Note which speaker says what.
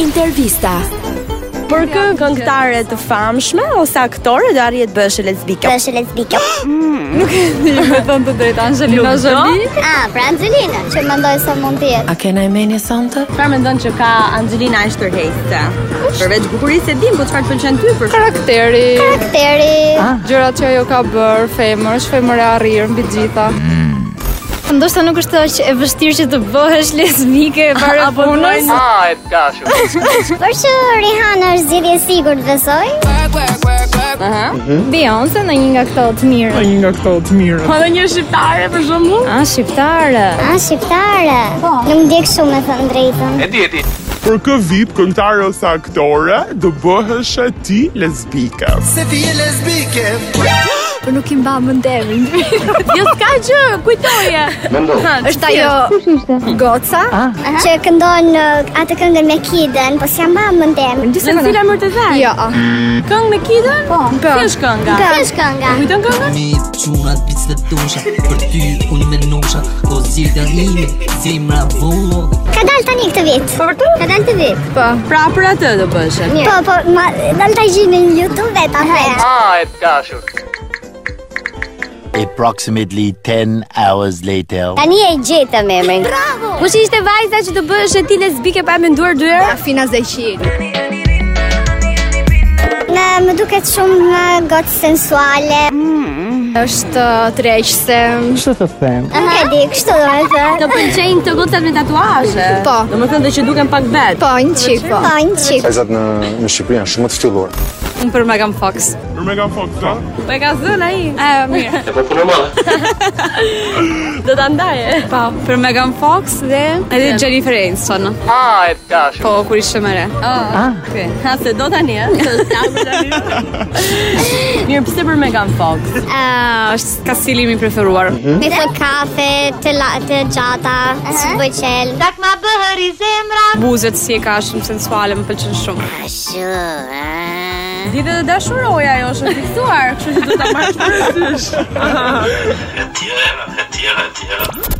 Speaker 1: Intervista.
Speaker 2: Për kë këngëtare të famshme ose aktore do arrije të bësh lesbike?
Speaker 3: Është lesbike.
Speaker 4: Me thënë të drejtë Angelina Jolie.
Speaker 3: Ah, pra Angelina, që mendoj se mund të jetë.
Speaker 5: A ke në mendje sonte?
Speaker 2: Çfarë Pra, mendon që ka Angelina aq tërheqëse? Përveç bukurisë e dimku çfarë të pëlqen ty për
Speaker 4: Karakteri,
Speaker 3: Karakteri,
Speaker 4: gjërat që ajo ka bërë, femër, është femër e arrirë mbi të gjitha.
Speaker 6: Mm. Ndoshta nuk është aq e vështirë që të bëhesh lesbike e para punës.
Speaker 7: Ah, e të kashëm.
Speaker 3: por që Rihanna është zgjidhje e sigurt besoj.
Speaker 6: Beyoncé në një nga këto të mirë.
Speaker 8: Një nga këto të mirë.
Speaker 4: Po
Speaker 2: Ka ndonjë shqiptare për shembull?
Speaker 6: A shqiptare.
Speaker 3: A shqiptare. Nuk ndjek shumë me thënë drejtën.
Speaker 7: E di, e di.
Speaker 8: Për kë vip këngëtare ose aktore do bëhesh ti lesbike?
Speaker 6: Po nuk i mba mend emrin.
Speaker 2: Jo s'ka gjë, kujtoje.
Speaker 7: Mendo.
Speaker 6: Është ajo Goca.
Speaker 3: Që këndon uh, atë këngën me Kiden, po s'jam ba më ndem.
Speaker 2: Në cila mërë të dhe?
Speaker 6: Jo.
Speaker 2: Këngë me kidën? Po. Kjo është kënga.
Speaker 3: Kësh kënga.
Speaker 2: Kujton këngën?
Speaker 9: Mis qunat pic të tusha Për ty unë me nusha O zirga ime, zemra vullo
Speaker 3: Ka dal tani këtë vit. Po vërtet? Ka dal këtë vit.
Speaker 2: Pra për atë do bësh.
Speaker 3: Po, po, ma, dal ta gjej në YouTube vetë atë.
Speaker 7: Ah, e të kashëm.
Speaker 10: Approximately 10 hours later.
Speaker 3: Tani e gjetëm emrin.
Speaker 2: Kush ishte vajza që të bësh e ti lesbike pa e menduar dy herë?
Speaker 6: Afina Zeqi.
Speaker 3: Në më duket shumë uh, gotë sensuale.
Speaker 6: Është uh, tregëse.
Speaker 3: Nuk e di, kështu do të
Speaker 2: Të
Speaker 3: thënë.
Speaker 2: pëlqejnë këto gocat me tatuazhe.
Speaker 6: Po.
Speaker 2: Domethënë dhe që duken pak bet.
Speaker 6: Po, një çik po.
Speaker 3: Po, një qik.
Speaker 11: Vajzat në në Shqipëri janë shumë të ftylluar.
Speaker 4: Unë për Megan Fox.
Speaker 8: Për me ka fokus, a?
Speaker 2: Po e ka zënë ai.
Speaker 4: E, mirë.
Speaker 7: E po punë madhe.
Speaker 2: Do ta ndaje.
Speaker 4: Po, për Megan Fox dhe edhe Jennifer Aniston.
Speaker 7: Ah, e të kashëm.
Speaker 4: Po, kur ishte më re.
Speaker 2: Ah, okay. Ha se do tani, ë. Mirë, pse për Megan Fox?
Speaker 4: Ah, është ka stili im i preferuar.
Speaker 3: Me thë kafe, të, la, të gjata, si bëj qel. Dak ma bëhëri zemra.
Speaker 4: Buzët si e ka shumë sensuale, më pëlqen shumë.
Speaker 3: Ashtu,
Speaker 2: Ditë të dashuroja ajo është e fiksuar, kështu që do ta marrësh për
Speaker 7: Tjera, tjera, tjera.